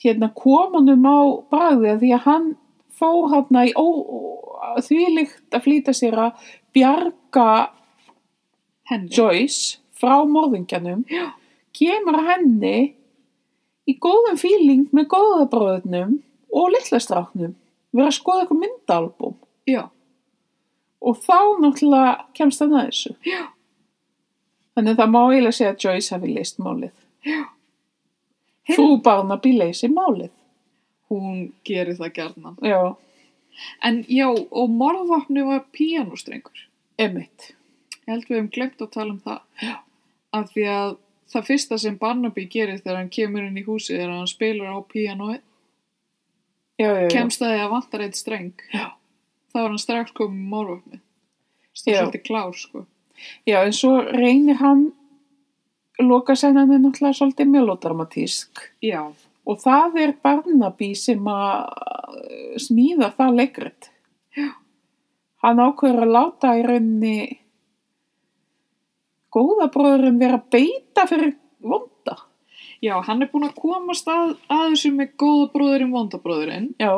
hérna komanum á bragðið því að hann fór hérna í ó, þvílíkt að flýta sér að bjarga
henni.
Joyce frá morðingjanum,
Já.
kemur að henni í góðum fíling með góðabróðunum og litlastráknum, vera að skoða eitthvað myndaalbum
Já,
og þá náttúrulega kemst hann að þessu.
Já.
Þannig að það má eiginlega segja að Joyce hafi leist málið.
Heyrðu-
Frú Barnaby leysi málið.
hún gerir það gjarnan.
Já,
En já, og morðvapni var píanostrengur.
emitt.
Ég held við hefum glemt að tala um það. Já. Af því að það fyrsta sem Barnaby gerir þegar hann kemur inn í húsið er að hann spilar á píanóið.
Já, já, já.
kemst að því að vantar eitt streng já. þá er hann strax komið með mórvöfni það er
Já.
svolítið klár sko
Já, en svo reynir hann loka senan er náttúrulega svolítið melodramatísk
já,
og það er Barnaby sem að eh, smíða það leikrit. Já. Hann ákveður að láta í rauninni góðabróðurinn vera að beita fyrir vonda.
já hann er búin að komast að, að þessu með góða bróðurinn vondabróðurinn
Já.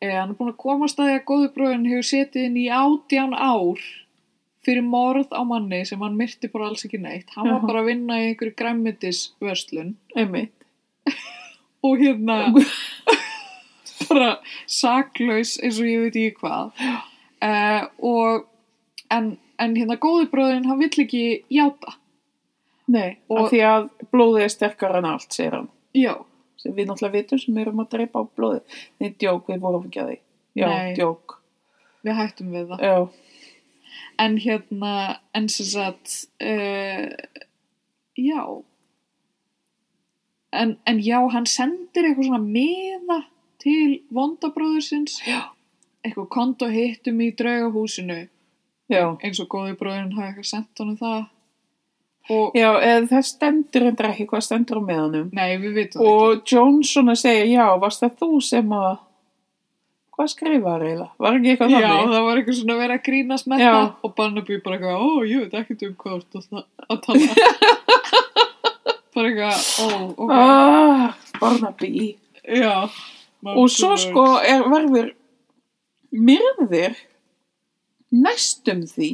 eh, hann er búin að komast að því að góða bróðurinn hefur setið inn í átján ár fyrir morð á manni sem hann myrti bara alls ekki neitt hann var
Jaha.
bara að vinna í einhverju græmmetisvörslun
Einmitt.
og hérna [laughs] bara saklaus eins og ég veit ekki hvað uh, og en, en hérna góði bróðurinn hann vill ekki játa
Nei,
Og-
af því að blóðið er sterkara en allt, segir hann.
já,
Sem við náttúrulega vitum sem erum að dreipa á blóðið. Nei, djók, við vorum ekki að því. Já,
Nei.
djók.
við hættum við það
Já,
en hérna, en sem sagt uh, já en, en já, hann sendir eitthvað svona meða til vondabróðursins já. eitthvað konto hittum í um draugahúsinu
Já.
eins og góði bróðurinn hafi eitthvað sendt honum það og
Já, eða það stendur endur ekki hvað stendur á meðanum.
nei, við vitum það
Og Johnson að segja, já, varst það þú sem að, hvað skrifaði eiginlega? Var ekki eitthvað
ekki já,
þannig?
það var eitthvað svona að vera að grínast með
Já.
það og Barnaby bara eitthvað, ó, ég veit ekkert um hvað þú ert að- að tala
[laughs]
bara eitthvað, ó, ok
Ah, Barnaby.
já
Og svo sko er, verður myrðir næstum því,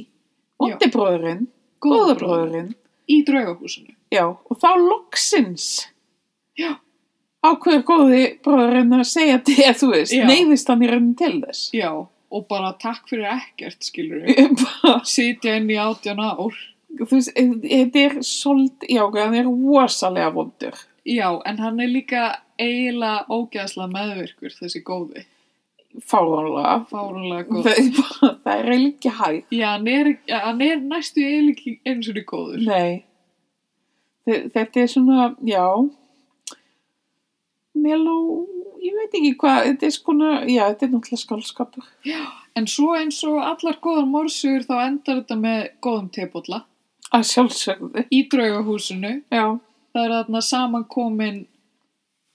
Já.
ondibróðurinn,
Góða
góðabróðurinn,
í draugahúsinu
já, og þá loksins
Já.
ákveður góði bróðurinn að segja til, þú veist,
Já.
neyðist hann í raunin til þess.
já, og bara takk fyrir ekkert skilur við,
Bara,
sitja inn í átján ár
þú veist, eh, þetta er svolítið, já, hann er rosalega vondur.
já, en hann er líka eiginlega ógæðslega meðvirkur þessi góði,
Fáránlega.
fárunlega góð
Það, er bara- það er eiginlega ekki hægt.
Já, hann er, já, hann er næstu eiginlega eins og niður góður.
Nei. Þe- Þetta er svona, já, meló, ég veit ekki hvað, þetta er skona, já, þetta er náttúrulega skálskapur.
En svo eins og allar góðar morsugur þá endar þetta með góðum tebolla.
Að sjálfsögðu.
Í draugahúsinu,
Já,
það er þarna samankomin,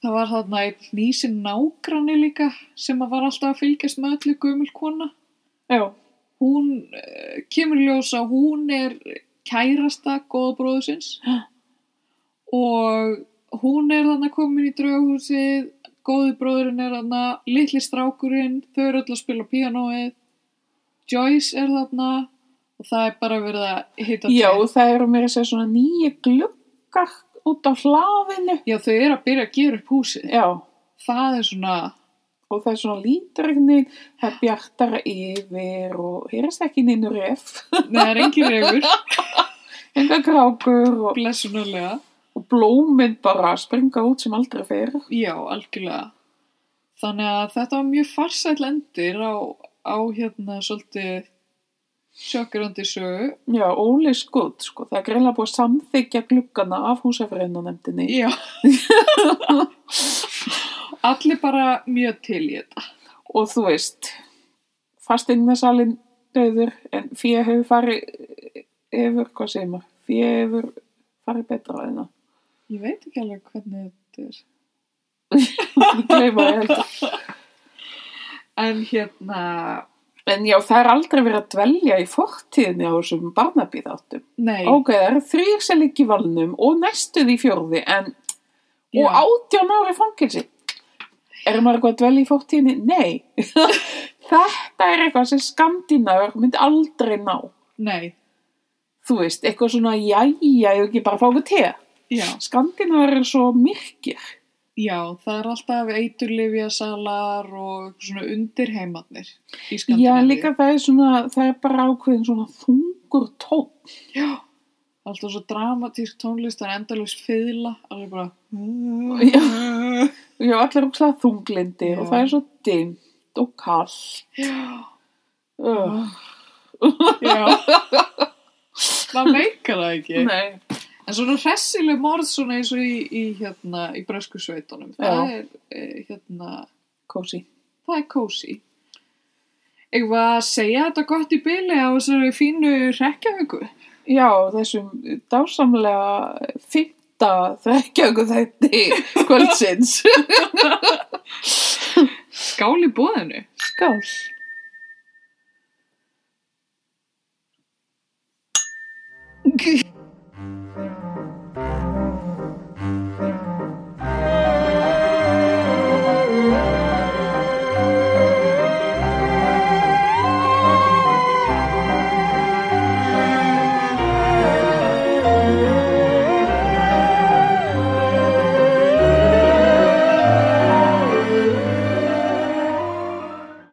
það var þarna einn nýsin nágranni líka sem að var alltaf að fylgjast með öllu gömul kona.
já,
Hún uh, kemur í ljós að hún er kærasta góða bróðusins og hún er þarna komin í draugahúsið, góði bróðurinn er þarna, litli strákurinn, þau eru öll að spila á píanóið, Joyce er þarna og það er bara verið að hitta
já, það eru mér að segja svona nýja gluggar út á hlaðinu.
Já, þau eru að byrja að gera upp húsið.
Já,
Það er svona,
og það er svona líturignin, það er bjartara yfir og heyrist ekki neinu ref, [laughs]
nei, það er engin reyfur,
enga krákur og,
blessunulega.
og blóminn bara springa út sem aldrei fyrir.
Já, algjörlega. Þannig að þetta var mjög farsæll endir á, á hérna svolítið sjokkjörandi sögu.
Já, Óli Skutt, sko, það er greinlega búið að samþykja gluggana af húsafræðinanemndinni
Já. [laughs] Allir bara mjög til í þetta.
og þú veist, fasteignasalinn döður en fyrir hefur farið yfir, hvað segir maður, fyrir hefur farið betra að hérna.
Ég veit ekki alveg hvernig þetta er.
Ég gleyma því heldur.
En hérna,
En já, það er aldrei verið að dvelja í fortíðinni á þessum barnabíðáttum.
nei.
Ok, það eru þrýr sem liggi í valnum og næstu því fjórði en,
Já.
og átján ári fangilsi. Er maður eitthvað að dvelja í fórtíðinni? Nei. [laughs] Þetta er eitthvað sem skandinavar myndi aldrei ná.
Nei,
Þú veist, eitthvað svona jæja, ég ekki bara fá okkur te.
já.
Skandinavar eru svo myrkir.
Já, það er alltaf eiturlifjasalar og svona undirheimarnir í
Já,
Skandinavíu.
líka það er svona, það er bara ákveðin svona þungur tótt.
Alltaf svo dramatísk tónlist, það er endalaus fiðla, alveg bara... "Mm,
Já. Já, allir ókslega þunglindir
Já.
og það er svo dimmt og kallt. Uh,
Já. Það meikar það ekki.
nei.
En svona hressileg morð svona eins og í, í, hérna, í brösku sveitunum. Það er, eh, hérna,
Kósi.
það er kósi. Ég var að segja þetta gott í byli á þessari fínu rekkjavöku.
Já, þessum dásamlega fyrta þrekkjöku þætti kvöldsins.
Skál í bóðinu.
Skál.